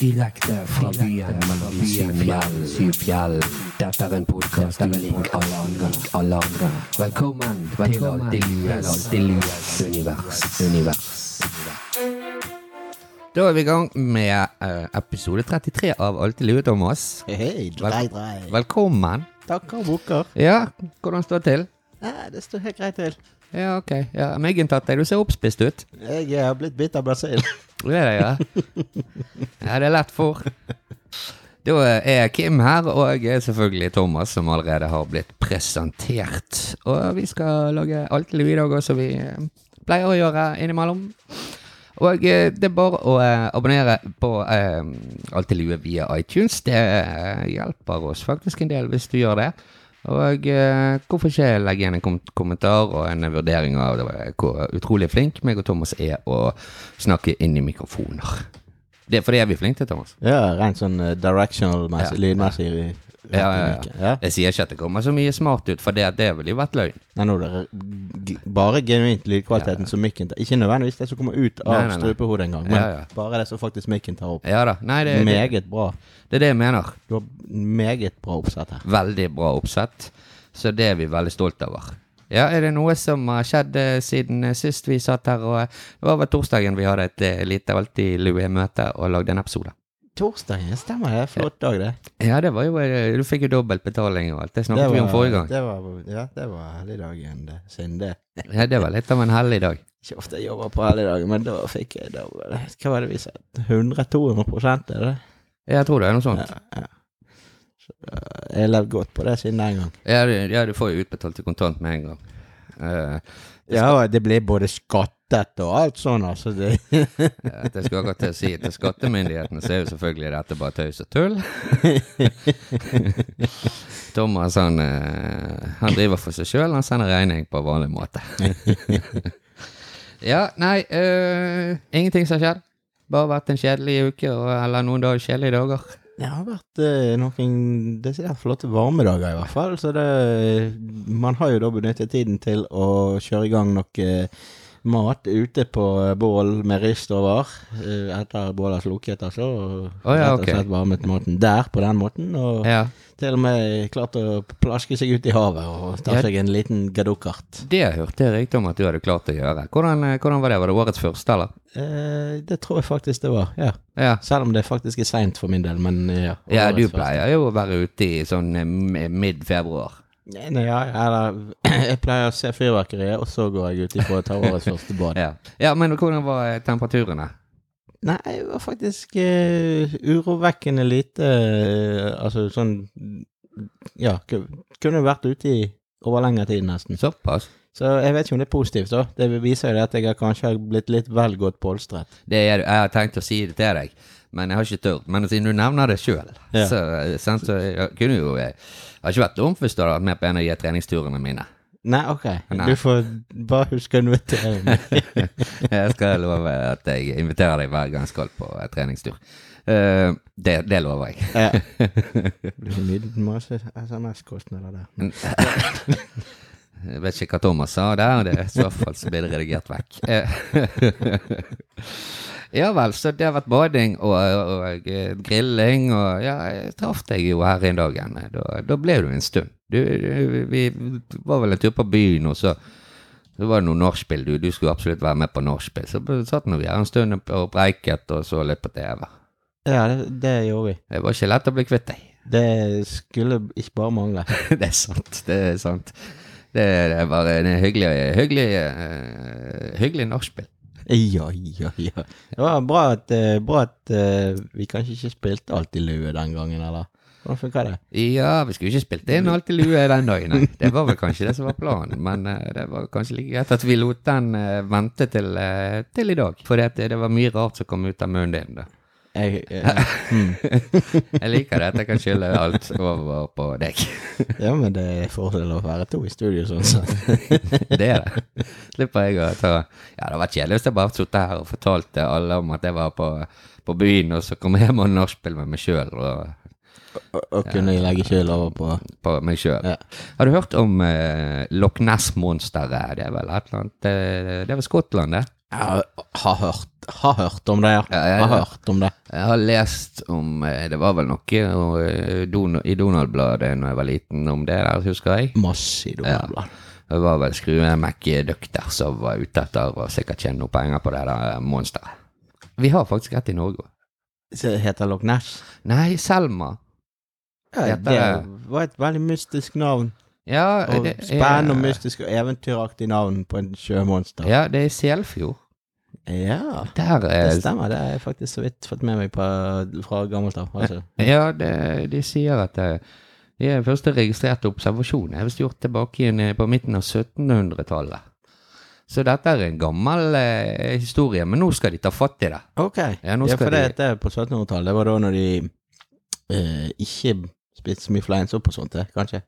Direkte fra byen, mellom fjell, syv fjell. Dette er en podkast ulik alle andre. Alle andre. Velkommen til Alltid Lues univers. univers. Da er vi i gang med eh, episode 33 av Alltid lue, Thomas. Hei, drei, drei. Velkommen. Takker og bukker. Ja, hvordan står det til? Ja, det står helt greit til. Ja, ok. Ja, Myggen tatt deg, du ser oppspist ut. Jeg eh, er blitt bitt av Brasil. Det er det, ja. Ja, det er lett for. Da er Kim her, og jeg er selvfølgelig Thomas, som allerede har blitt presentert. Og vi skal lage Alltid lue i dag, også, som vi eh, pleier å gjøre innimellom. Og eh, det er bare å eh, abonnere på eh, Alltid lue via iTunes. Det eh, hjelper oss faktisk en del hvis du gjør det. Og eh, hvorfor ikke legge igjen en kom kommentar og en vurdering av det, hvor utrolig flink meg og Thomas er å snakke inn i mikrofoner. Det er fordi vi er flinke til, Thomas. Ja, rent sånn eh, directional Ja. messig, lydmessig. i- Ja, ja, ja. retning, ja. Jeg sier ikke at det kommer så mye smart ut, for det, det ville jo vært løgn. Nei, nå er det g- bare genuint lydkvaliteten som mikken tar. Ikke nødvendigvis det som kommer ut av Nei, nei, nei. strupehodet engang, men Ja, ja. bare det som faktisk mikken tar opp. Ja da. Nei, det, det, Meget bra. det er det jeg mener. Du har meget bra oppsett her. Veldig bra oppsett. Så det er vi veldig stolt over. Ja, er det noe som har skjedd eh, siden eh, sist vi satt her, og eh, det var vel torsdagen vi hadde et eh, lite alltid Louis-møte og lagde en episode? Torsdagen, ja, stemmer det. Flott dag, det. Ja, det var jo eh, Du fikk jo dobbelt betaling og alt. Det snakket vi om forrige gang. Det var, ja, det var helligdagen det- siden det. Ja, det var litt av en hellig dag. Ikke ofte jeg jobber på helligdager, men da fikk jeg da, var det- Hva var det vi sa? 100-200 er det? Jeg tror det er noe sånt. Jeg har levd godt på det siden den gang. Ja, du, ja, du får jo utbetalt i kontant med en gang. Eh, Ja, det blir både skattet og alt sånn, altså. Det. Ja, Eh, Det skal akkurat til å si til skattemyndighetene, så er jo selvfølgelig dette bare tøys og tull. Thomas han, eh, han driver for seg sjøl, han sender regning på vanlig måte. ja, nei, eh, ingenting som har skjedd. Bare vært en kjedelig uke, og- eller noen dager kjedelige dager. Det har vært eh, noen desidert flotte varmedager, i hvert fall. Så det Man har jo da benyttet tiden til å kjøre i gang noe eh, mat ute på eh, bål med rist over. eh, Etter bålet er slukket, altså. Og Å ja, rett og ok. slett varmet maten der på den måten. Og Ja, Til og med klart å plaske seg ut i havet og ta Ja. seg en liten gadukkart. Det hørte jeg riktig om at du hadde klart å gjøre. Hvordan, eh, hvordan var det? Var det årets første, eller? Eh, det tror jeg faktisk det var, ja. Ja. Selv om det faktisk er seint for min del, men eh, ja. Ja, årets du første. pleier jo å være ute i sånn eh, m- mid-februar. Nei, nei, ja, eller jeg pleier å se fyrverkeriet, og så går jeg ut ifra å ta årets første bad. Ja. ja, men hvordan var eh, temperaturene? Nei, det var faktisk eh, urovekkende lite eh, Altså sånn Ja, ku- kunne vært ute i over lengre tid, nesten. Såpass. Så jeg vet ikke om det er positivt, da. Det viser jo det at jeg har kanskje har blitt litt vel godt polstret. Det er, jeg har tenkt å si det til deg, men jeg har ikke turt. Men siden du nevner det sjøl, Ja. så, eh, sant, så jeg kunne jo jeg, Det har ikke vært dumt hvis du hadde vært med på en av de treningsturene mine. Nei, ok. Nei. Du får bare huske å invitere meg. Jeg skal love at jeg inviterer deg hver gang jeg skal på eh, treningstur. Eh, det, det lover jeg. Ja. Det blir mye masse SMS-kostnader der. Jeg vet ikke hva Thomas sa der, det er i så fall så blir det redigert vekk. Eh, ja vel, så det har vært bading og, og eh, grilling, og ja, jeg traff deg jo her en dag igjen. Da, da ble du en stund. Du, du, vi var vel en tur på byen, og så, så var det noe nachspiel. Du, du skulle absolutt være med på nachspiel. Så ble- satt nå vi her en stund og breiket og så litt på TV. Ja, det, det gjorde vi. Det var ikke lett å bli kvitt deg. Det skulle ikke bare mangle. det er sant, det er sant. Det det var en hyggelig, hyggelig, eh, hyggelig nachspiel. Ja, ja, ja. Det var bra at, eh, bra at eh, vi kanskje ikke spilte alt i lue den gangen, eller? Hvordan funka det? Ja, vi skulle ikke spilt inn alt i lue den dagen. nei. Det var vel kanskje det som var planen, men eh, det var kanskje like greit at vi lot den eh, vente til, eh, til i dag. For det, det var mye rart som kom ut av munnen din. Da. Jeg, eh, Jeg liker det at jeg kan skylde alt over på deg. ja, men det er fordel å være to i studio, sånn sett. Det er det. Slipper jeg å ta Ja, det hadde vært kjedelig hvis jeg bare hadde sittet her og fortalt til alle om at jeg var på, på byen, og så kom jeg hjem og nachspiel med meg sjøl. Å å kunne legge skyld over på På meg sjøl. Ja. Har du hørt om eh, Loch Ness-monsteret? Det er vel et eller annet eh, Det er vel Skottland, det? Jeg har hørt, har hørt om det, ja. Ja, ja, ja. Har hørt om det. Jeg har lest om eh, Det var vel noe eh, Don- i Donald-bladet da jeg var liten, om det der, husker jeg. Masse i Donald-blad. Det var vel skrue McDuck der som var ute etter å sikkert tjene noe penger på det der eh, monsteret. Vi har faktisk et i Norge òg. Så Heter Loch Ness? Nei, Selma. Ja, Heter det det- var et veldig mystisk navn. Ja, Og det er- Spennende og mystisk og eventyraktig navn på en sjømonster. Ja, det er Selfjord. Ja, Der eh, det er stemmer. Det har jeg faktisk så vidt fått med meg på, fra gammelt av. Altså. Ja, det, de sier at det det er den første registrerte observasjonen. Jeg har gjort tilbake igjen eh, på midten av 1700-tallet. Så dette er en gammel eh, historie, men nå skal de ta fatt i det. Ok. Ja, Ja, nå skal for det, de- det er på 1700-tallet. Det var da når de eh, ikke spiste så mye fleinsopp og sånt, eh, kanskje.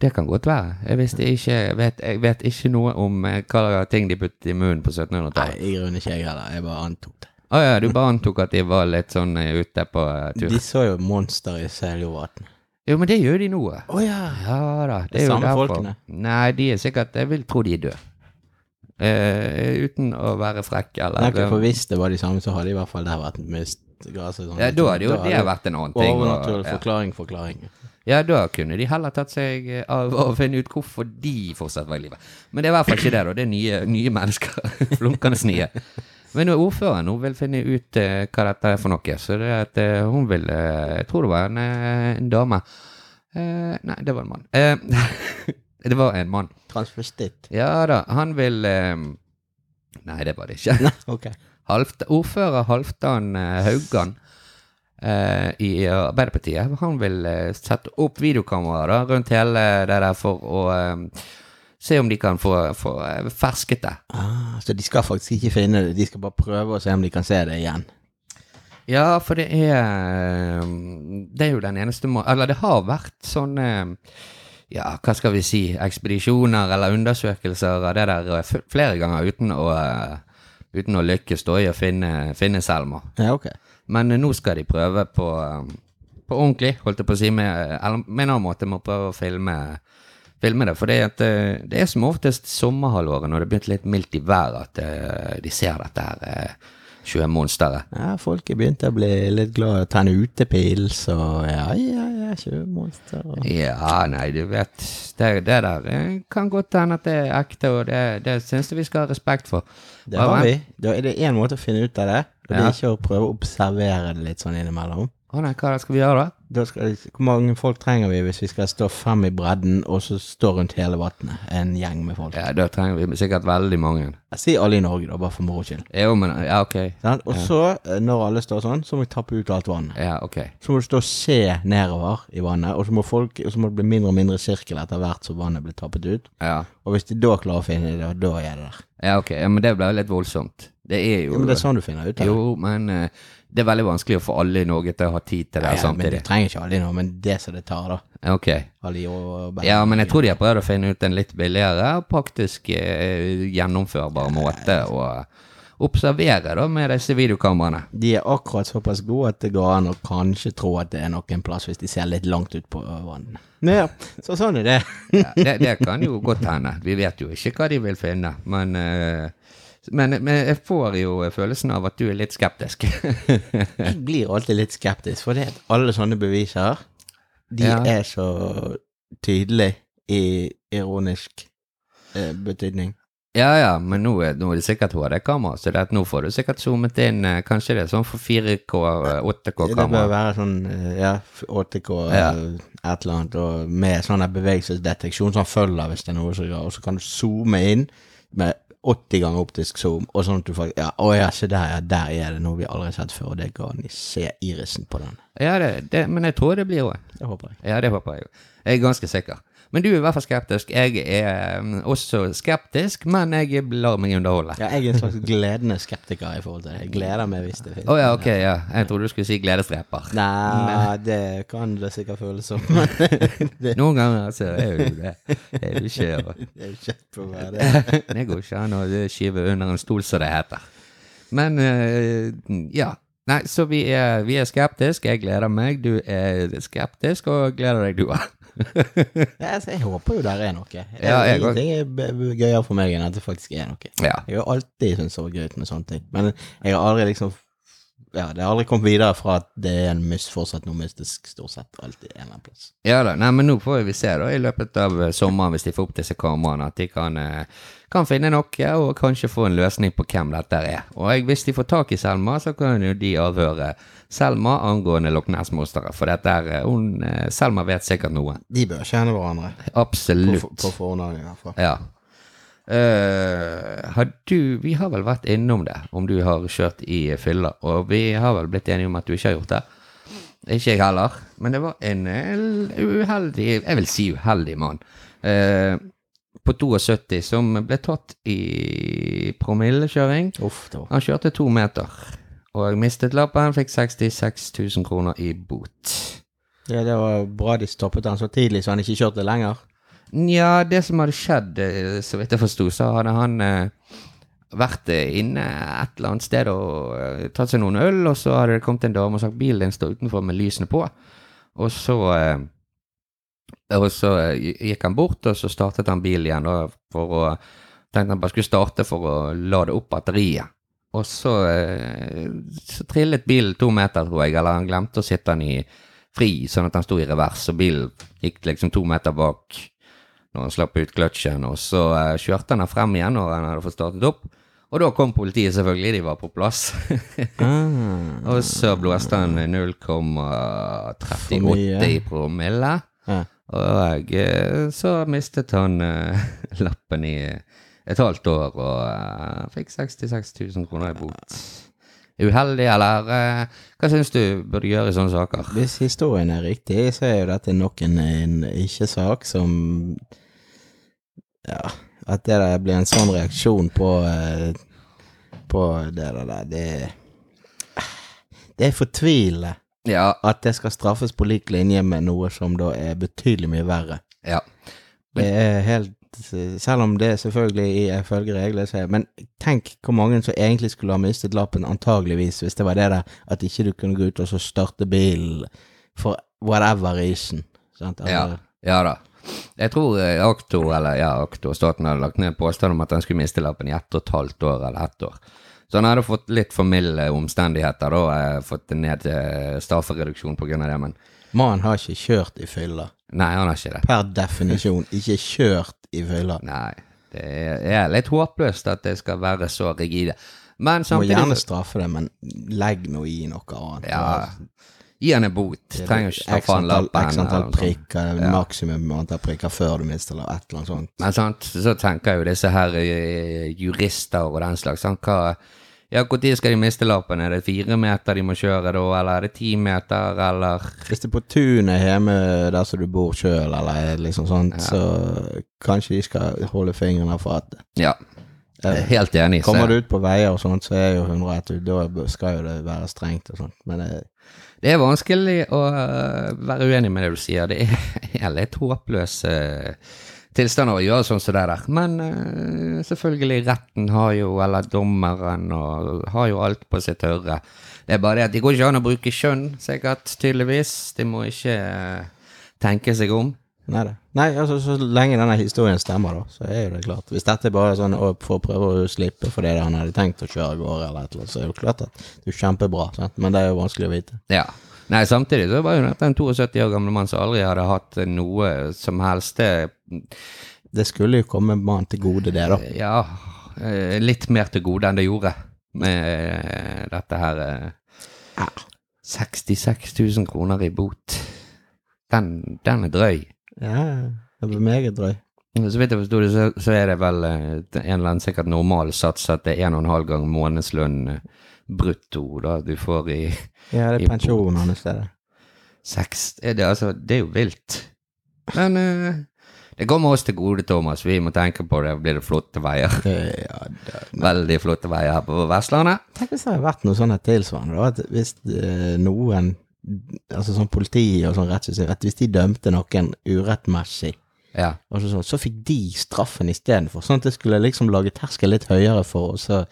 Det kan godt være. Jeg, visste ikke, jeg, vet, jeg vet ikke noe om eh, hva ting de puttet i munnen på Nei, 1700-tallet. i grunnen ikke jeg heller. Jeg bare antok det. Å ja, du bare antok at de var litt sånn eh, ute på eh, tur. De så jo monster i Seljovatn. Jo, men det gjør de nå. eh. Å ja. Ja da, det Det er jo samme derfor. folkene. Nei, de er sikkert Jeg vil tro de er døde. Eh, uten å være frekk Nei, eller ok, for hvis det var de samme, så hadde i hvert fall det vært mist gras og sånn. ja, Da hadde jo det vært en annen ting. og- Overnaturlig ja. forklaring, forklaring. ja, da kunne de heller tatt seg eh, av å finne ut hvorfor de fortsatt var i live. Men det er i hvert fall ikke det, da. Det er nye, nye mennesker. Flunkende nye. Men nå, ordføreren hun vil finne ut eh, hva dette er for noe. Så det er at eh, hun vil eh, Jeg tror det var en, eh, en dame. Eh, nei, det var en mann. Eh, det var en mann. Transvestitt. Ja da, han vil eh, Nei, det var det ikke. Ok. Halvt, ordfører Halvdan eh, Haugan eh, i Arbeiderpartiet, han vil eh, sette opp videokameraer da, rundt hele det der for å eh, se om de kan få, få eh, fersket det. Ah, så de skal faktisk ikke finne det, de skal bare prøve å se om de kan se det igjen. Ja, for det er um, Det er jo den eneste må... Eller det har vært sånne um, Ja, hva skal vi si Ekspedisjoner eller undersøkelser av det der uh, f- flere ganger uten å uh, Uten å lykkes da i å finne, finne Selma. Ja, ok. Men uh, nå skal de prøve på um, På ordentlig, holdt jeg på å si, med, eh, eller med en annen måte med å prøve å filme Filme det, for det, at, uh, det er som oftest sommerhalvåret når det begynte litt mildt i været at uh, de ser dette her uh, sjømonsteret. Ja, folk er begynt å bli litt glad i å tenne utepils og ja, ja, ja, sjømonster og Ja, nei, du vet Det, det der eh, kan godt hende at det er ekte, og det, det syns jeg vi skal ha respekt for. Det Hva har med- vi. Da er det én måte å finne ut av det, og det Ja. er ikke å prøve å observere det litt sånn innimellom. Å nei, hva skal vi gjøre da? Da skal, hvor mange folk trenger vi hvis vi skal stå fem i bredden og så stå rundt hele vannet? En gjeng med folk. Ja, Da trenger vi sikkert veldig mange. Jeg sier alle i Norge, da, bare for moro skyld. Jo, men Ja, ok. Sant? Og så, eh, når alle står sånn, så må vi tappe ut alt vannet. Ja, ok. Så må du stå og se nedover i vannet, og så må, folk, og så må det bli mindre og mindre sirkel etter hvert som vannet blir tappet ut. Ja, Og hvis de da klarer å finne det, da er det der. ja ok. Ja, Men det ble litt voldsomt. Det er Ja, jo men det er sånn du finner ut av det. Jo, men eh, det er veldig vanskelig å få alle i Norge til å ha tid til det Ja, ja, men samtidig. du trenger ikke alle nå, men det som det tar, da. Ok. Alle i år Ja, men jeg tror de har prøvd å finne ut en litt billigere og praktisk eh, gjennomførbar måte å observere da med disse videokameraene. De er akkurat såpass gode at det går an å kanskje tro at det er noen plass hvis de ser litt langt ut på vannet. Ja, så sånn er det. Ja, det, det kan jo godt hende. Vi vet jo ikke hva de vil finne. Men, eh, men, men jeg får jo følelsen av at du er litt skeptisk. Jeg blir alltid litt skeptisk, for det at alle sånne beviser, de Ja. er så tydelig i ironisk eh, betydning. ja ja, men nå er, nå er det sikkert HD-kamera, så det at nå får du sikkert zoomet inn. eh, Kanskje det er sånn for 4K, eh, Det bør 8K-kamera. være sånn eh, ja, 8K, Ja. eh, et eller annet, og med sånn her bevegelsesdeteksjon som følger hvis det er noe som gjør, og så kan du zoome inn med 80 ganger optisk zoom, og sånn at du faktisk, ja, å ja, se der, ja, der er det noe vi aldri har sett før, og det kan vi se irisen på den. Ja, det, det, men jeg tror det blir òg. Det håper jeg. Ja, det håper jeg òg. Jeg er ganske sikker. Men du er i hvert fall skeptisk. Jeg er mm, også skeptisk, men jeg lar meg underholde. Ja, jeg er en slags gledende skeptiker i forhold til det. Jeg gleder meg hvis det finnes. Å ja, ok, ja. Jeg trodde du skulle si gledesdreper. Nei, det kan det sikkert føles som, men det Noen ganger så er jo det. Det er jo ikke er jo kjekt på å være det. Det går ikke an å skyve under en stol, som det heter. Men eh, ja, Nei, så vi er, vi er skeptiske. Jeg gleder meg. Du er skeptisk, og gleder deg, du òg. Ja, altså, jeg håper jo der er noe. Ja, jeg går- Ingenting er b- b- gøyere for meg enn at det faktisk er noe. ja. Jeg har alltid syntes det var gøy med sånne ting, men jeg har aldri liksom ja, Det har aldri kommet videre fra at det er en mus fortsatt noe mystisk, stort sett. Alltid en eller annen plass. ja da. Nei, men nå får vi se, da, i løpet av eh, sommeren, hvis de får opp disse kameraene, at de kan, eh, kan finne noe, og kanskje få en løsning på hvem dette er. Og jeg, hvis de får tak i Selma, så kan jo de avhøre Selma angående Loch Ness-monsteret, for dette er eh, hun eh, Selma vet sikkert noe. De bør kjenne hverandre. På, Absolutt. for- på forhånd, i hvert fall. Ja. Eh, har du Vi har vel vært innom det, om du har kjørt i fylla, og vi har vel blitt enige om at du ikke har gjort det. Ikke jeg heller, men det var en eh, uheldig Jeg vil si uheldig mann. eh, på 72 som ble tatt i promillekjøring. Uff, det var Han kjørte to meter og mistet lappen. Fikk 66 000 kroner i bot. ja, Det var bra de stoppet han så tidlig, så han ikke kjørte lenger. Nja, det som hadde skjedd, eh, så vidt jeg forsto, så hadde han eh, vært eh, inne et eller annet sted og eh, tatt seg noen øl, og så hadde det kommet en dame og sagt bilen din står utenfor med lysene på. Og så, eh, og så eh, gikk han bort, og så startet han bilen igjen da, for å Tenkte han bare skulle starte for å lade opp batteriet. Og så, eh, så trillet bilen to meter, tror jeg, eller han glemte å sitte den i fri, sånn at han sto i revers, og bilen gikk liksom to meter bak når han slapp ut kløtsjen, og så eh, kjørte han den frem igjen når han hadde fått startet opp. Og da kom politiet selvfølgelig, de var på plass. Ah. og så blåste han 0,38 i promille. Ja. Og eh, så mistet han eh, lappen i et halvt år og eh, fikk 66 000 kroner i bot. Uheldig, eller eh, hva syns du burde gjøre i sånne saker? Hvis historien er riktig, så er jo dette nok en, en ikke-sak som Ja, at det der blir en sånn reaksjon på eh, På det der, der, det Det er fortvilende Ja, at det skal straffes på lik linje med noe som da er betydelig mye verre. ja. Det er helt Selv om det selvfølgelig er ifølge regler, så er Men tenk hvor mange som egentlig skulle ha mistet lappen, antageligvis, hvis det var det der at ikke du kunne gå ut og så starte bilen for whatever reason. Sant? Altså, Ja, ja da. Jeg tror eh, Akto, eller ja, Akto og staten hadde lagt ned en påstand om at han skulle miste lappen i ett og et halvt år eller ett år. Så han hadde fått litt for milde omstendigheter, da eh, fått ned eh, straffereduksjon på grunn av det, men Mannen har ikke kjørt i fylla. nei, han har ikke det. Per definisjon ikke kjørt i fylla. Nei, det er- er litt håpløst at det skal være så rigide. Men Må gjerne samtidig så- straffe det, men legg nå i noe annet. Altså, Ja, gi han en bot. Trenger ikke ta X fra han antall- lappen. X eller antall noe sånt. prikker, maksimum antall prikker før du mister, eller et eller annet sånt. Men sant, så tenker jo disse her eh, jurister og den slags, sant, hva ja, Når skal de miste lappen? Er det fire meter de må kjøre da, eller er det ti meter, eller Hvis det er på tunet hjemme der som du bor sjøl, eller liksom sånt, så kanskje de skal holde fingrene av fatet. Ja. jeg er Helt enig. så- Kommer du ut på veier og sånt, så er jo 101, du- da skal jo det være strengt og sånt, men eh, det, Det er vanskelig å øh, være uenig med det du sier. Det er- er litt håpløse tilstander å gjøre sånn som det der. Men øh, selvfølgelig, retten har jo, eller dommeren, og har jo alt på sitt tørre. Det er bare det at det går ikke an å bruke skjønn, sikkert, tydeligvis. De må ikke øh, tenke seg om. nei da. Nei, altså, så lenge denne historien stemmer, da, så er jo det klart. Hvis dette er bare sånn å, for å prøve å slippe fordi det han hadde tenkt å kjøre av gårde, eller et eller annet, så er det jo klart at det er jo kjempebra, sant? men det er jo vanskelig å vite. Ja. Nei, samtidig så var jo dette en 72 år gammel mann som aldri hadde hatt noe som helst eh, Det skulle jo komme mannen til gode, det, da. Ja, eh, litt mer til gode enn det gjorde med dette her. eh, Ja. 66 000 kroner i bot. Den, den er drøy. Ja, det blir meget drøy. Så vidt jeg forsto det, så, så er det vel eh, en eller annen sikkert normal sats at det er en og en halv gang månedslønn eh, brutto da du får i Ja, det I er pensjonen hans, det. er det. seks er det, altså, det er jo vilt. Men eh, det kommer oss til gode, Thomas. Vi må tenke på det. Blir det flotte veier? Det- Ja, det Veldig flotte veier her på Vestlandet. Tenk hvis det hadde vært noe sånn her tilsvarende, da. At hvis eh, noen, altså sånn politi og sånn rettssystem, at hvis de dømte noen urettmessig, Ja. og så, sånn, så fikk de straffen istedenfor. Sånn at det skulle liksom lage terskelen litt høyere for å så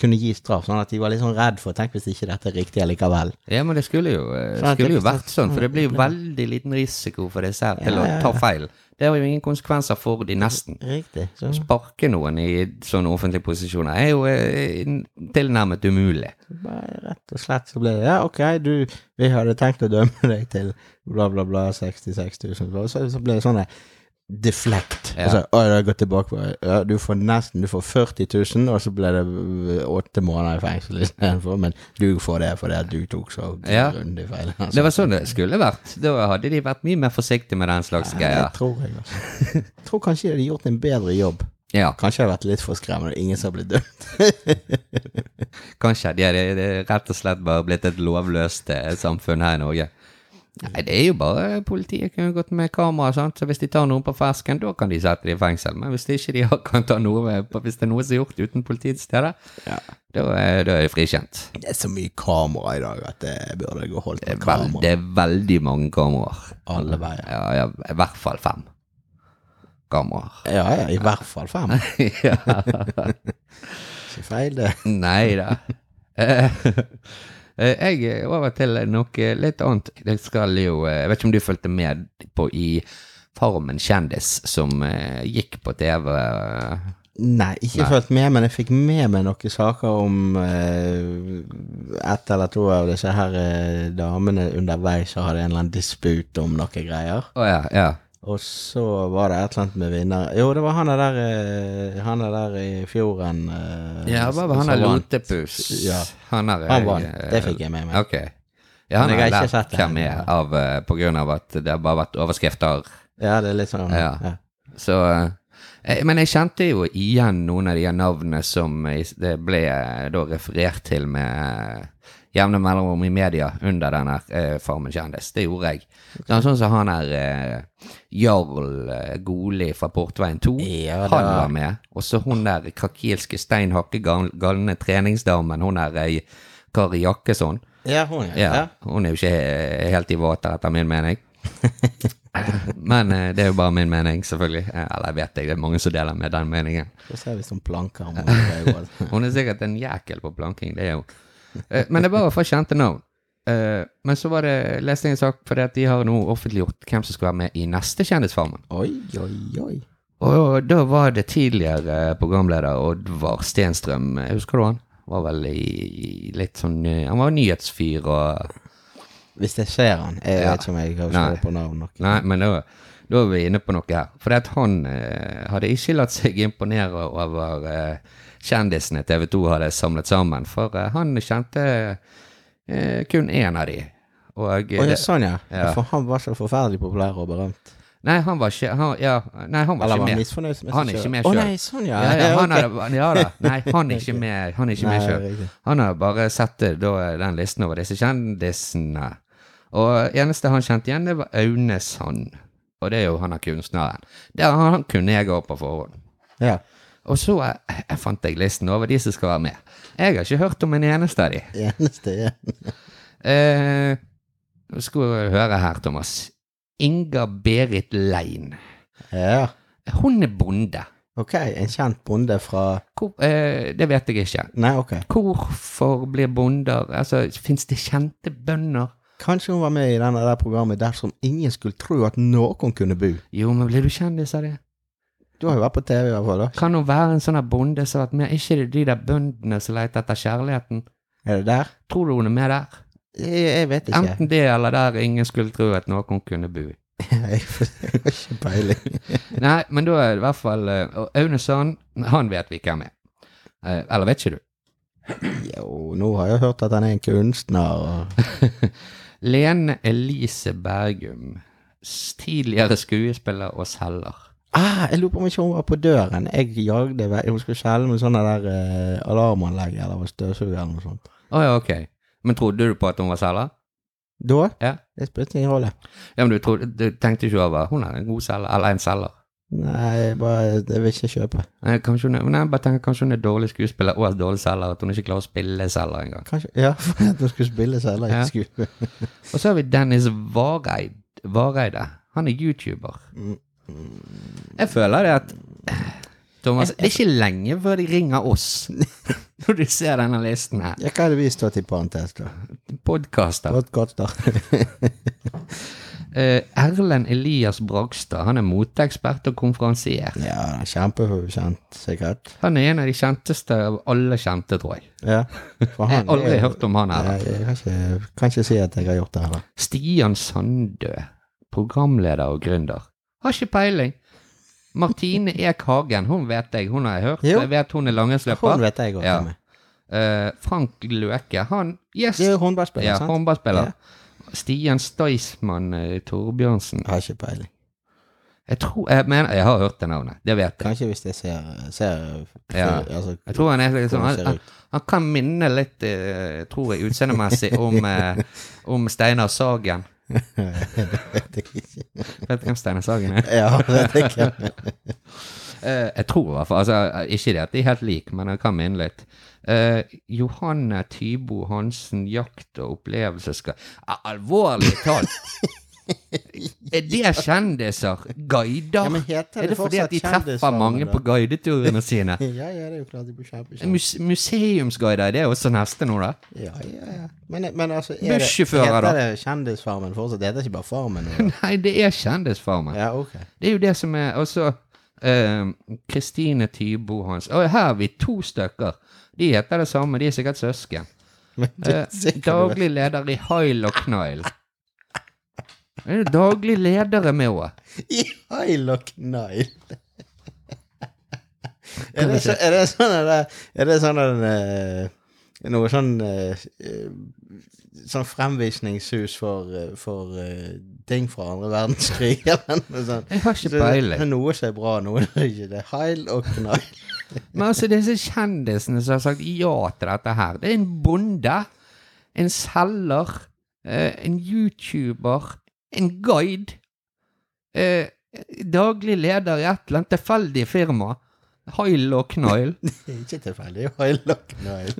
kunne gi straff. Sånn at de var litt sånn redd for Tenk hvis ikke dette er riktig allikevel. Ja, men det skulle jo, eh, Sant, det skulle jo forstår- vært sånn, for det blir jo veldig liten risiko for disse her til Ja, å ja, ja. ta feil. Det har jo ingen konsekvenser for de nesten. Riktig. Så. Å sparke noen i sånne offentlige posisjoner er jo eh, tilnærmet umulig. Bare rett og slett så ble det Ja, ok, du, vi hadde tenkt å dømme deg til bla, bla, bla, 66 000. Og så, så ble det sånn der deflect. Ja. Og så, å, det har gått tilbake på ja, Du får nesten du får 40 000, og så ble det øh, åtte måneder i fengsel istedenfor. Men du får det fordi at du tok så Ja. grundig feil. altså. Det var sånn det skulle vært. Da hadde de vært mye mer forsiktige med den slags Ja, greier. det tror jeg, altså. Jeg tror kanskje de hadde gjort en bedre jobb. Ja, Kanskje jeg har vært litt for skremmende. Ingen som har blitt dømt. kanskje. Det er, det er rett og slett bare blitt et lovløst eh, samfunn her i Norge. Nei, det er jo bare politiet kunne gått med kamera, sant? så hvis de tar noen på fersken, da kan de sette dem i fengsel. Men hvis de ikke de har, kan ta noe med, hvis det er noe som er gjort uten politiets steder, Ja. da er da er de frikjent. Det er så mye kamera i dag at det burde gå holdt Det på er, vel, kamera det er veldig mange kameraer. alle veier. Ja, ja, I hvert fall fem kameraer. Ja, ja, i hvert fall fem. ja. Ikke feil, det. Nei da. Eh, eh, Jeg er over til noe litt annet. Det skal jo eh, Jeg vet ikke om du fulgte med på i Farmen kjendis, som eh, gikk på TV. eh, Nei, ikke fulgt med, men jeg fikk med meg noen saker om eh, ett eller to av disse her eh, damene underveis som hadde en eller annen disput om noen greier. Å ja, ja. Og så var det et eller annet med vinner Jo, det var han der, eh, han der i fjorden eh, Ja, hva var han der som vant. Lotepus? Ja. Han er Han vant. eh, Det fikk jeg med meg. Ok. Ja, han har Men jeg har ikke lært sett det hvem ennå. er av, eh, på grunn av at det har bare vært overskrifter. Ja, det er litt sånn Ja. ja. Så eh, eh, Men jeg kjente jo igjen noen av de her navnene som eh, det ble eh, da referert til med eh, jevne mellomrom i media under denne eh, Farmen kjendis. Det gjorde jeg. Sånn, sånn som han her eh, Jarl eh, Goli fra Portveien 2. Ja, han da. var med. Og så hun der krakilske steinhakke gal- galne treningsdamen, hun der eh, Kari Jakkesson. ja, hun, ja. Ja, ja. Hun er jo ikke he- helt i vater, etter min mening. Men eh, det er jo bare min mening, selvfølgelig. Eh, Eller jeg vet jeg, det er mange som deler med den meningen. Så ser vi som planker om hun går. Hun er sikkert en jækel på planking, det er hun. Eh, Men det er bare for kjente navn. Eh, Men så var det, leste jeg en sak fordi at de har nå offentliggjort hvem som skal være med i neste Kjendisfarmen. Oi, oi, oi. Og da var det tidligere eh, programleder Oddvar Stenstrøm, eh, husker du han? Var vel i litt sånn eh, Han var nyhetsfyr og Hvis jeg ser han Jeg Ja. vet ikke om jeg kan Nei. slå på navn nok. Nei, men da, da er vi inne på noe her. For at han eh, hadde ikke latt seg imponere over eh, kjendisene TV 2 hadde samlet sammen, for eh, han kjente eh, kun én av de. Og, eh, Å ja, det- sånn ja. Ja. For han var så forferdelig populær og berømt. Nei, han var ikke han, ja, Nei, han var Eller ikke var han med. misfornøyd med seg Han er ikke selv? med Å selv. nei, sånn ja. Ja, ja, han ok. hadde, ja da. Nei, han er ikke med, han er ikke med Nei, sjøl. riktig. Han har bare sett eh, da, den listen over disse kjendisene. Og eneste han kjente igjen, det var Aune Sand. Og det er jo han er kunstneren. Det er han, han kunne jeg gå på forhånd. Ja. Og så eh, jeg fant jeg listen over de som skal være med. Jeg har ikke hørt om en eneste av de. Eneste igjen. Eh, nå skal vi høre her, Thomas. Inga Berit Lein. Ja. Hun er bonde. Ok, en kjent bonde fra Hvor, eh, det vet jeg ikke. Nei, ok. Hvorfor blir bonder Altså, fins det kjente bønder? Kanskje hun var med i denne der programmet dersom ingen skulle tro at noen kunne bo. Jo, men blir du kjendis av det? Du har jo vært på TV i hvert fall, da. Kan hun være en sånn her bonde som har vært med? Er ikke det de der bøndene som leter etter kjærligheten? Er det der? Tror du hun er med der? Jeg, jeg vet ikke. Enten det eller der ingen skulle tro at noen kunne bo. Jeg har ikke peiling. Nei, men da er det i hvert fall eh, og Aune Sand, han vet vi hvem er. Eh, Eller vet ikke du? Jo, nå har jeg hørt at han er en kunstner og Lene Elise Bergum. s- Tidligere skuespiller og selger. ah, Jeg lurer på om ikke hun var på døren. Jeg jagde vei. Hun skulle skjelve med sånne der eh, alarmanlegg eller var støvsuger eller noe sånt. Å ja, ok. Men trodde du på at hun var selger? Da? Ja. Det spilte ingen rolle. Ja, men du, trodde, du tenkte ikke over Hun er en god selger, eller en selger. Nei, jeg bare Jeg vil ikke kjøpe. Eh, Kanskje hun er, nei, jeg bare tenker kanskje hun er dårlig skuespiller og er dårlig selger, at hun ikke klarer å spille selger engang. Kanskje Ja, for at hun skulle spille seg eller Ja. ikke skulle Og så har vi Dennis Vareid, Vareide. Han er YouTuber. Jeg føler det at Thomas, det er ikke lenge før de ringer oss. når du ser denne listen her. Ja, hva er det vi står til parentes, da? Podkaster. Podkaster. Eh, Erlend Elias Bragstad han er moteekspert og konferansier. ja, kjempekjent, sikkert. Han er en av de kjenteste av alle kjente, tror jeg. Ja. For Jeg har aldri er- hørt om han Nei, her. Jeg kan ikke, kan ikke si at jeg har gjort det heller. Stian Sandø, programleder og gründer. Har ikke peiling. Martine Ek Hagen, hun vet jeg, hun har jeg hørt. Jo. Jeg vet hun er Hun langrennsløper. vet jeg godt Ja. hvem er. Eh, Frank Løke, han Yes! Det er jo håndballspiller, Ja, sant? håndballspiller. Stian Staysman eh, Torbjørnsen. Jeg har ikke peiling. Jeg tror Jeg mener, jeg har hørt det navnet. Det vet jeg. Kanskje hvis jeg ser, ser Ja. altså, Jeg tror han er liksom Hvordan Han, ser det han, ut? han kan minne litt, eh, tror jeg, utseendemessig om, eh, om Steinar Sagen. vet jeg ikke. Vet du hvem Steinar Sagen er? Ja, vet jeg ikke. Eh, jeg tror i hvert fall altså, Ikke det at de er helt like, men jeg kan minne litt. Eh, Johanne Tybo Hansen, jakt og opplevelse skal Ah, Alvorlig talt! Er det kjendiser? Guider? Ja, men heter det er det fordi fortsatt at de kjendisnavn, treffer mange da? på guideturene sine? Ja, ja, det er jo klart de blir kjempekjent. Mus museumsguider, det er også neste nå, da? Ja, ja, ja. Men, men altså, er det, Bussjåfører, heter da. det Kjendisfarmen fortsatt? Det heter ikke bare Farmen? nå, da? Nei, det er Kjendisfarmen. Ja, ok. Det er jo det som er også eh, Kristine Tybo Hans Og her har vi to stykker. De heter det samme, de er sikkert søsken. Men du, Eh, sikkert du vet- daglig leder i Hail og Knail. Det er jo daglig ledere med òg. I Hail og Knail. er, det så, er det sånn at det- Er det sånn at eh, Noe sånn eh, eh, Sånn fremvisningshus for, eh, for eh, ting fra andre verdenskrig, eller noe sånt. Jeg har Så ikke det er peiling. noe som er bra, noe som ikke det. er Hail og Knail. Men altså, disse kjendisene som har sagt ja til dette her, det er en bonde, en selger, eh, en YouTuber, en guide, eh, daglig leder i et eller annet tilfeldig firma. Hail og Knail. Det er ikke tilfeldig. det er Hail og Knail.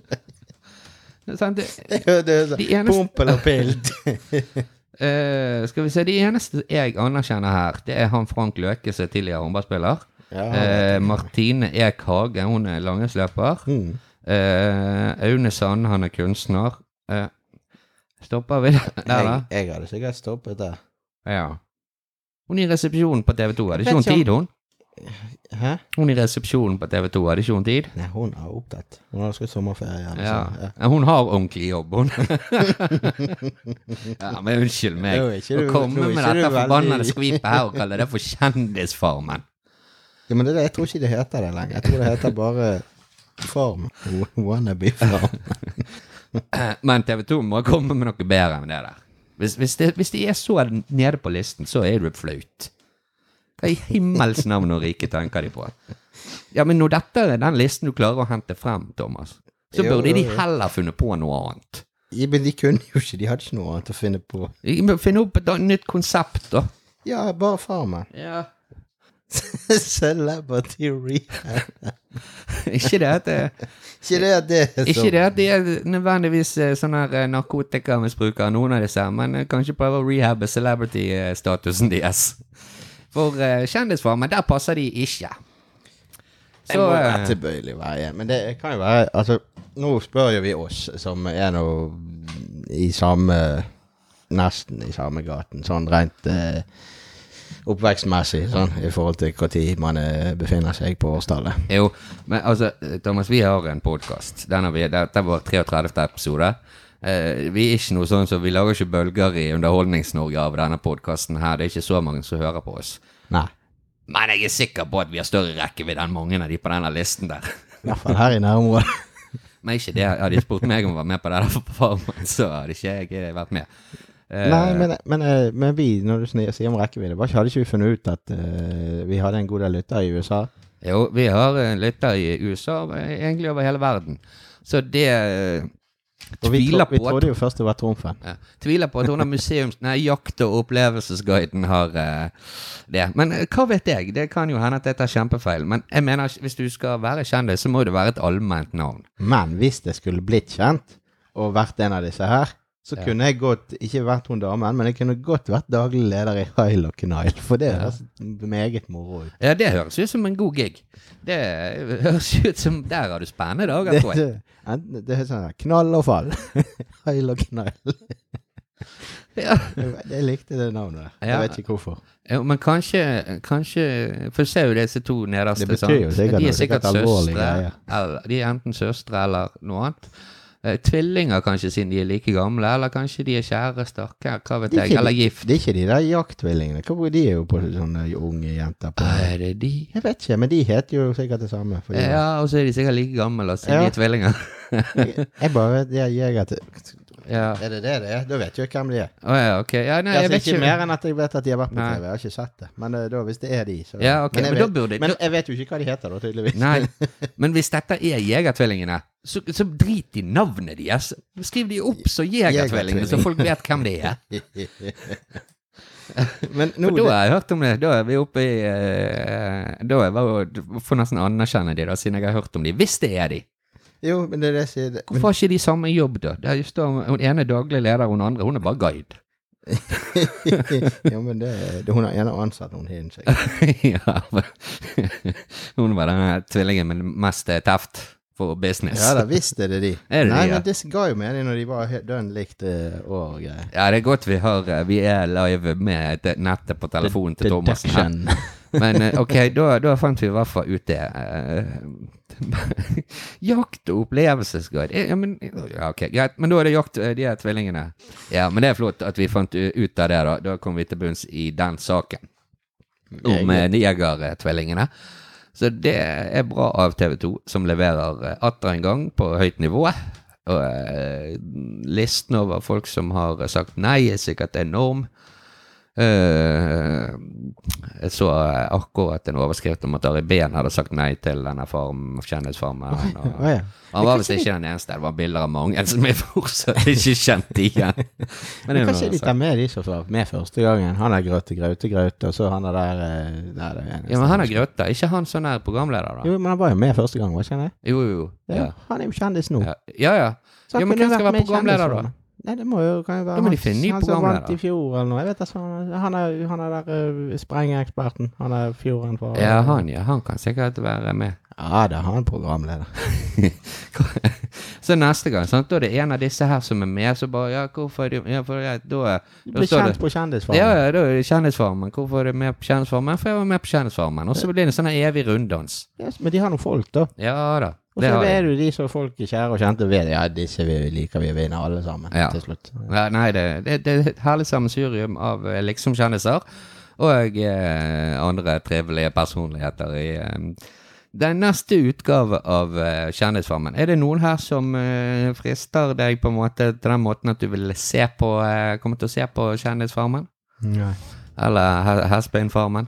Det er sant, eh, det- Det er- det er De sånn eneste- Pompel og pilt. eh, Skal vi se, de eneste jeg anerkjenner her, det er han Frank Løke, som er tidligere håndballspiller. Ja, Eh, Martine Ek Hage, hun er langrennsløper. mm. Eh, Aune Sand, han er kunstner. Eh, stopper vi der, da? jeg, jeg hadde sikkert stoppet der. Ja. Hun i resepsjonen på TV 2, hadde Jeg ikke hun vet ikke tid, hun? Hæ? Hun i resepsjonen på TV 2, hadde ikke hun tid? Nei, hun er opptatt. Hun har skutt sommerferie. eller Ja. sånn. Ja, Hun har ordentlig jobb, hun. ja, men unnskyld meg. Nå er ikke Å du- nå komme er med ikke du dette veldig- forbannede skvipet her og kalle det for Kjendisfarmen. Ja, men det, jeg tror ikke det heter det lenger. Jeg tror det heter bare Farm. Wannabe Farm. Eh, Men TV 2 må komme med noe bedre enn det der. Hvis, hvis, det, hvis de er så nede på listen, så er det flaut. Hva i himmels navn og rike tenker de på? Ja, men når dette er den listen du klarer å hente frem, Thomas, så Jo, burde jo, de jo. heller funnet på noe annet. Ja, men de kunne jo ikke, de hadde ikke noe annet å finne på. Vi må Finne opp et annet nytt konsept, da. Ja, bare Farmen. Ja. Celebrity Rehab. Ikke det at det Ikke det at det er Ikke sånn. det at de er nødvendigvis eh, sånne her eh, narkotikamisbrukere, noen av disse, men eh, kanskje prøve å rehabbe celebrity-statusen deres. For eh, Kjendisfarmen, der passer de ikke. Jeg Så må eh, være tilbøyelig være igjen. Men det kan jo være Altså, nå spør jo vi oss som er nå i samme Nesten i samme gaten, sånn rent eh, oppvekstmessig, sånn i forhold til når man eh, befinner seg på årstallet. Jo, men altså, eh, Thomas, vi har en podkast. Dette var 33. episode. Eh, vi er ikke noe sånn som vi lager ikke bølger i Underholdnings-Norge av denne podkasten her. Det er ikke så mange som hører på oss. Nei. Men jeg er sikker på at vi har større rekkevidde enn mange av de på denne listen der. I hvert fall her i nærområdet. Men ikke det, hadde de spurt meg om å være med på det der på Farmen, så hadde ikke jeg vært med. Eh, Nei, men, men, eh, men vi, når du sni- sier om rekkevidde, var ikke- hadde ikke vi funnet ut at eh, vi hadde en god del lyttere i USA? Jo, vi har eh, lytter i USA, eh, egentlig over hele verden. Så det eh, Og vi, tro, tviler, vi på at, trodde jo først det var Trumfen. ja, tviler på at hun har museums... Nei, jakt- og opplevelsesguiden har eh, det. Men eh, hva vet jeg? Det kan jo hende at jeg tar kjempefeil. Men jeg mener, ikke- hvis du skal være kjendis, så må det være et allment navn. Men hvis det skulle blitt kjent og vært en av disse her, så Ja. kunne jeg godt ikke vært hun damen, men jeg kunne godt vært daglig leder i Hail og Knail, for det Ja. høres meget moro ut. Ja, det høres ut som en god gig. Det eh, høres ut som Der har du spennende dager, Det, tror jeg. det, enten- det er sånn her, knall og fall. Hail og Knail. Ja. Jeg likte det navnet. der. Ja. Jeg vet ikke hvorfor. Jo, men kanskje, kanskje For se jo disse to nederste. Det betyr sant? jo sikkert De noe, er sikkert sikkert alvorlige søstre. greier. Eller, de er enten søstre eller noe annet. Eh, tvillinger, kanskje, siden de er like gamle. Eller kanskje de er kjærester. Hva hva vet Det er jeg. ikke Eller de- gift. Det er ikke de der jakttvillingene. Hvorfor de er jo på sånne unge jenter på Er det de? Jeg vet ikke, men de heter jo sikkert det samme. For de- Ja, og så er de sikkert like gamle, siden de Ja. er tvillinger. jeg, jeg bare vet jeg, jeg at Ja. Er det det det er? Da vet jo jeg hvem de er. Å ja, ok. Ja, nei, altså, jeg vet ikke ikke mer enn at jeg vet at de har vært på Nei. TV. Jeg har ikke sett det. Men eh, da, hvis det er de, så Ja, ok, jeg men da vet- burde- men da- jeg vet jo ikke hva de heter, da, tydeligvis. Nei, men hvis dette er Jegertvillingene, så, så drit i navnet deres. Skriv de opp som Jegertvillingene, så folk vet hvem de er. men nå For da har jeg hørt om det. Da er vi oppe i eh, Da er jeg bare- får nesten anerkjenne de, da, siden jeg har hørt om de. Hvis det er de. Jo, men det er det jeg sier. Hvorfor har ikke de samme jobb, da? Der står Hun ene er daglig leder, hun andre hun er bare guide. Men- jo, men det, det Hun har ene ansatt, hun har en kjekk. ja, men- hun var den tvillingen med mest eh, teft for business. Ja da, visst er det de. Er det de, Nei, ja? men det ga jo mening når de var helt dønn likt eh, år og greier. Ja, det er godt vi har eh, Vi er live med det- nettet på telefonen til Thomassen her. Deduction. Men eh, ok, da, da fant vi i hvert fall ut det. eh. jakt og opplevelsesguide Eh, Ja, men ja, ok, greit. Men da er det jakt, eh, de her tvillingene. Ja, men det er flott at vi fant u- ut av det, da. Da kom vi til bunns i den saken om eh, Neger-tvillingene. Så det er bra av TV 2, som leverer eh, atter en gang på høyt nivå. Og eh, listen over folk som har eh, sagt nei, er sikkert enorm. Eh, jeg så eh, akkurat en overskrift om at Ari Behn hadde sagt nei til denne farm, kjendisfarmen. og- Å, ja. Han var visst ikke den eneste. Det var bilder av mange som jeg fortsatt ikke kjente igjen. Men det er Men noe kanskje de annet sak. tar med de som var med første gangen. Han er Grøte Graute Graute, og så han er der eh, Nei, det er en Ja, men han er Grøtta, ikke han sånn her programleder, da? Jo, men han var jo med første gang, var ikke han det? Jo, jo. Ja. Ja, Han er jo kjendis nå. ja. ja, ja. Så han Jo, men kunne hvem skal vært være med i programleder, da? kjendisrollen. Nei, det må jo kan jo være Da må de han- finne ny han som vant programleder. i fjor eller noe. Jeg vet altså, han- han er, han er der uh, sprengereksperten. Han er fjorden for ja han, ja, han kan sikkert være med. Ja, det er han programleder. Så neste gang, sant, da er det en av disse her som er med, så bare Ja, hvorfor er du Ja, for ja, da, da Blir står kjent det på Kjendisfarmen. ja, ja, da er det Kjendisfarmen. Hvorfor er du med på Kjendisfarmen? For jeg var med på Kjendisfarmen. Og så blir det en sånn her evig runddans. Yes, men de har noen folk, da. Ja da. Og Det så har er jeg. det jo de som folk er kjære og kjente ved. Ja, disse vi liker vi vinner alle sammen Ja. til slutt. Ja, nei, det, det, det er et herlig sammensurium av eh, liksom-kjendiser og eh, andre trivelige personligheter i eh, den neste utgave av eh, Kjendisfarmen. Er det noen her som eh, frister deg på en måte til den måten at du vil se på, eh, komme til å se på Kjendisfarmen? Nei. Eller He- Hespeinfarmen?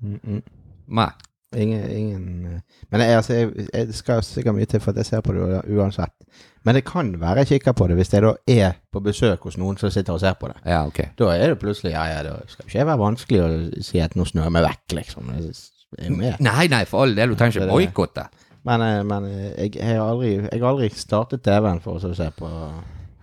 Mm -mm. Nei. Ingen, ingen eh, Men jeg, altså, jeg, jeg det skal sikkert mye til for at jeg ser på det u- uansett. Men det kan være jeg kikker på det hvis jeg da er på besøk hos noen som sitter og ser på det. Ja, ok. Da er det plutselig ja, ja, da skal ikke jeg være vanskelig å si at nå snør jeg meg vekk, liksom. Jeg s- er jo med. Nei, nei, for all del. Du trenger Det ikke er det. boikotte. Men, eh, men eh, jeg, jeg, har aldri, jeg har aldri startet TV-en for å så se på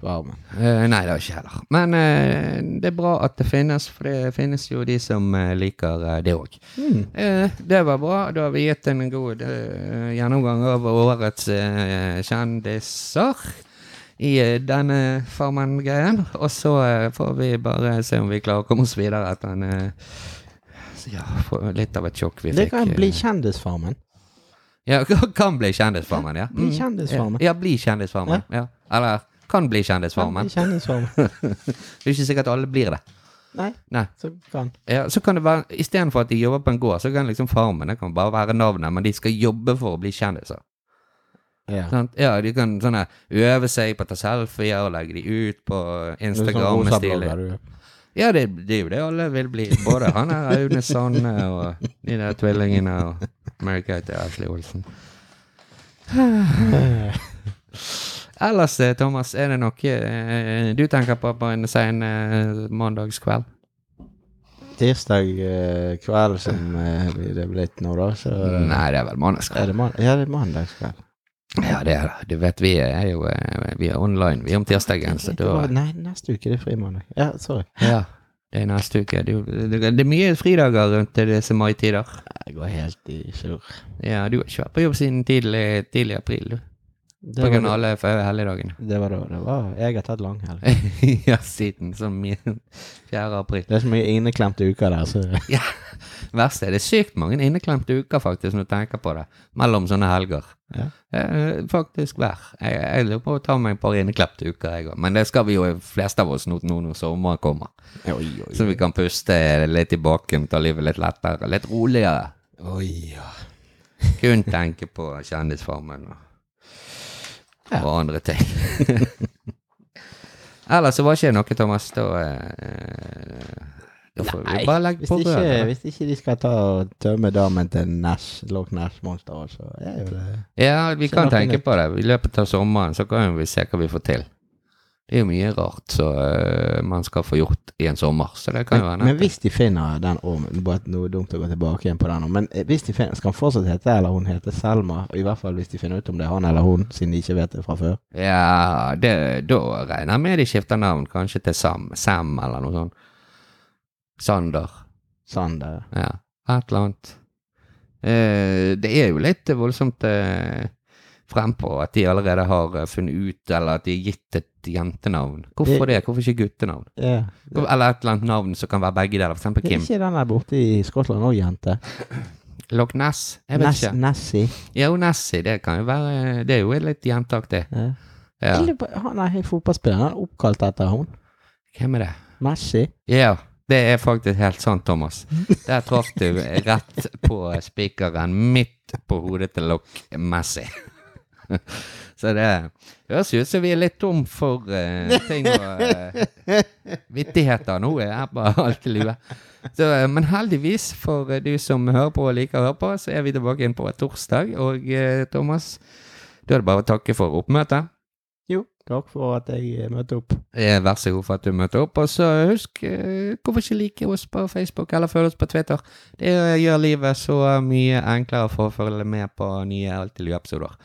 varmen. Eh, nei, det har jeg ikke heller. Men eh, det er bra at det finnes, for det finnes jo de som eh, liker eh, det òg. Mm. det var bra. Da har vi gitt en god eh, gjennomgang av årets eh, kjendiser i eh, denne Farmen-greien. Og så eh, får vi bare se om vi klarer å komme oss videre etter en eh, ja, få litt av et sjokk vi Det fikk. kan eh. bli Kjendisfarmen. Ja, kan bli Kjendisfarmen, ja. Bli Kjendisfarmen. Mm, Ja, bli Kjendisfarmen. Ja. Eller kan bli Kjendisfarmen. Bli Kjendisfarmen. Det er ikke sikkert alle blir det. Nei, Nei. så kan Ja, så kan det være, Istedenfor at de jobber på en gård, så kan liksom farmen det kan bare være navnet, men de skal jobbe for å bli kjendiser. ja. Sant? Ja, De kan sånne, øve seg på å ta selfier og legge de ut på Instagram. med stilig. Instagram-stilig. Ja, det, det er jo det alle vil bli. Både han her Aune Sande og de der tvillingene og America til Ashley Olsen. Ellers, eh, Thomas, er det noe eh, du tenker på på en sen eh, mandagskveld? Tirsdag eh, kveld som eh, det er blitt nå, da, så eh, Nei, det er vel Er mandagskveld. det, man ja, det er mandagskveld. Ja, det er det. Du vet, vi er jo eh, vi er online. Vi er om tirsdagen, så Det var- altså, da Nei, neste uke det er frimandag. Ja, sorry. Ja. Det er neste uke. Det, er jo- det, det er mye fridager rundt disse maitider. Jeg går helt i surr. Ja, du har ikke vært på jobb siden tidlig, tidlig april, du. Det, På grunn av var- alle fe- helligdagene. det var da det var Jeg har tatt langhelg. ja, siden som min 4. april. Det er så mye inneklemte uker der, så Ja, verst er det sykt mange inneklemte uker, faktisk, når du tenker på det, mellom sånne helger. Ja. Eh, faktisk hver. Jeg, jeg lurer på å ta meg et par inneklemte uker, jeg òg. Men det skal vi jo, fleste av oss, nå nå når sommeren kommer. Oi, Så vi kan puste litt i baken, ta livet litt lettere, litt roligere. Oi, ja. Kun tenke på Kjendisfarmen og, og andre ting. Ellers så var ikke det noe, Thomas. Da, eh, da får vi bare legge Hvis på ikke, røret. hvis ikke de skal ta og tømme damen til Nash, Loch Nash-monster også, så er jo det Ja, vi kan noe tenke nytt. på det. I løpet av sommeren så kan vi se hva vi får til. Det er jo mye rart som eh, man skal få gjort i en sommer, så det kan jo men, være men nett. hvis de finner den om Bare at noe dumt å gå tilbake igjen på den om, men eh, hvis de finner Skal han fortsatt hete eller hun heter Selma? Og I hvert fall hvis de finner ut om det er han eller hun, siden de ikke vet det fra før. Ja, det, da regner jeg med de skifter navn, kanskje til Sam, Sam eller noe sånt. Sander. Sander. Ja, et eller annet. Eh, det er jo litt voldsomt eh, frempå at de allerede har eh, funnet ut, eller at de har gitt et jentenavn. Hvorfor det? Hvorfor ikke guttenavn? Ja. Hvor- Eller et eller annet navn som kan være begge deler, for eksempel Er Kim. ikke den der borte i Skottland òg, jente? Loch Ness? Jeg vet Ness, ikke. Nessie. Jo, Nessie, det kan jo være eh, Det er jo litt jenteaktig. Ja. Ja. Jeg lurer på- Han er helt fotballspiller. Han er oppkalt etter hun. Hvem er det? Messi. Ja, det er faktisk helt sant, Thomas. Der traff du rett på spikeren midt på hodet til Loch Messi. Så det høres ut som vi er litt tom for eh, ting og eh, vittigheter nå. er Jeg bare alt i lue. Så, eh, men heldigvis, for eh, du som hører på og liker å høre på, så er vi tilbake inn på torsdag. Og eh, Thomas, da er det bare å takke for oppmøtet. Jo, takk for at jeg eh, møtte opp. Eh, Vær så god for at du møtte opp. Og så husk, eh, hvorfor ikke like oss på Facebook eller følge oss på Twitter? Det eh, gjør livet så mye enklere for å følge med på nye Alltid lue-episoder.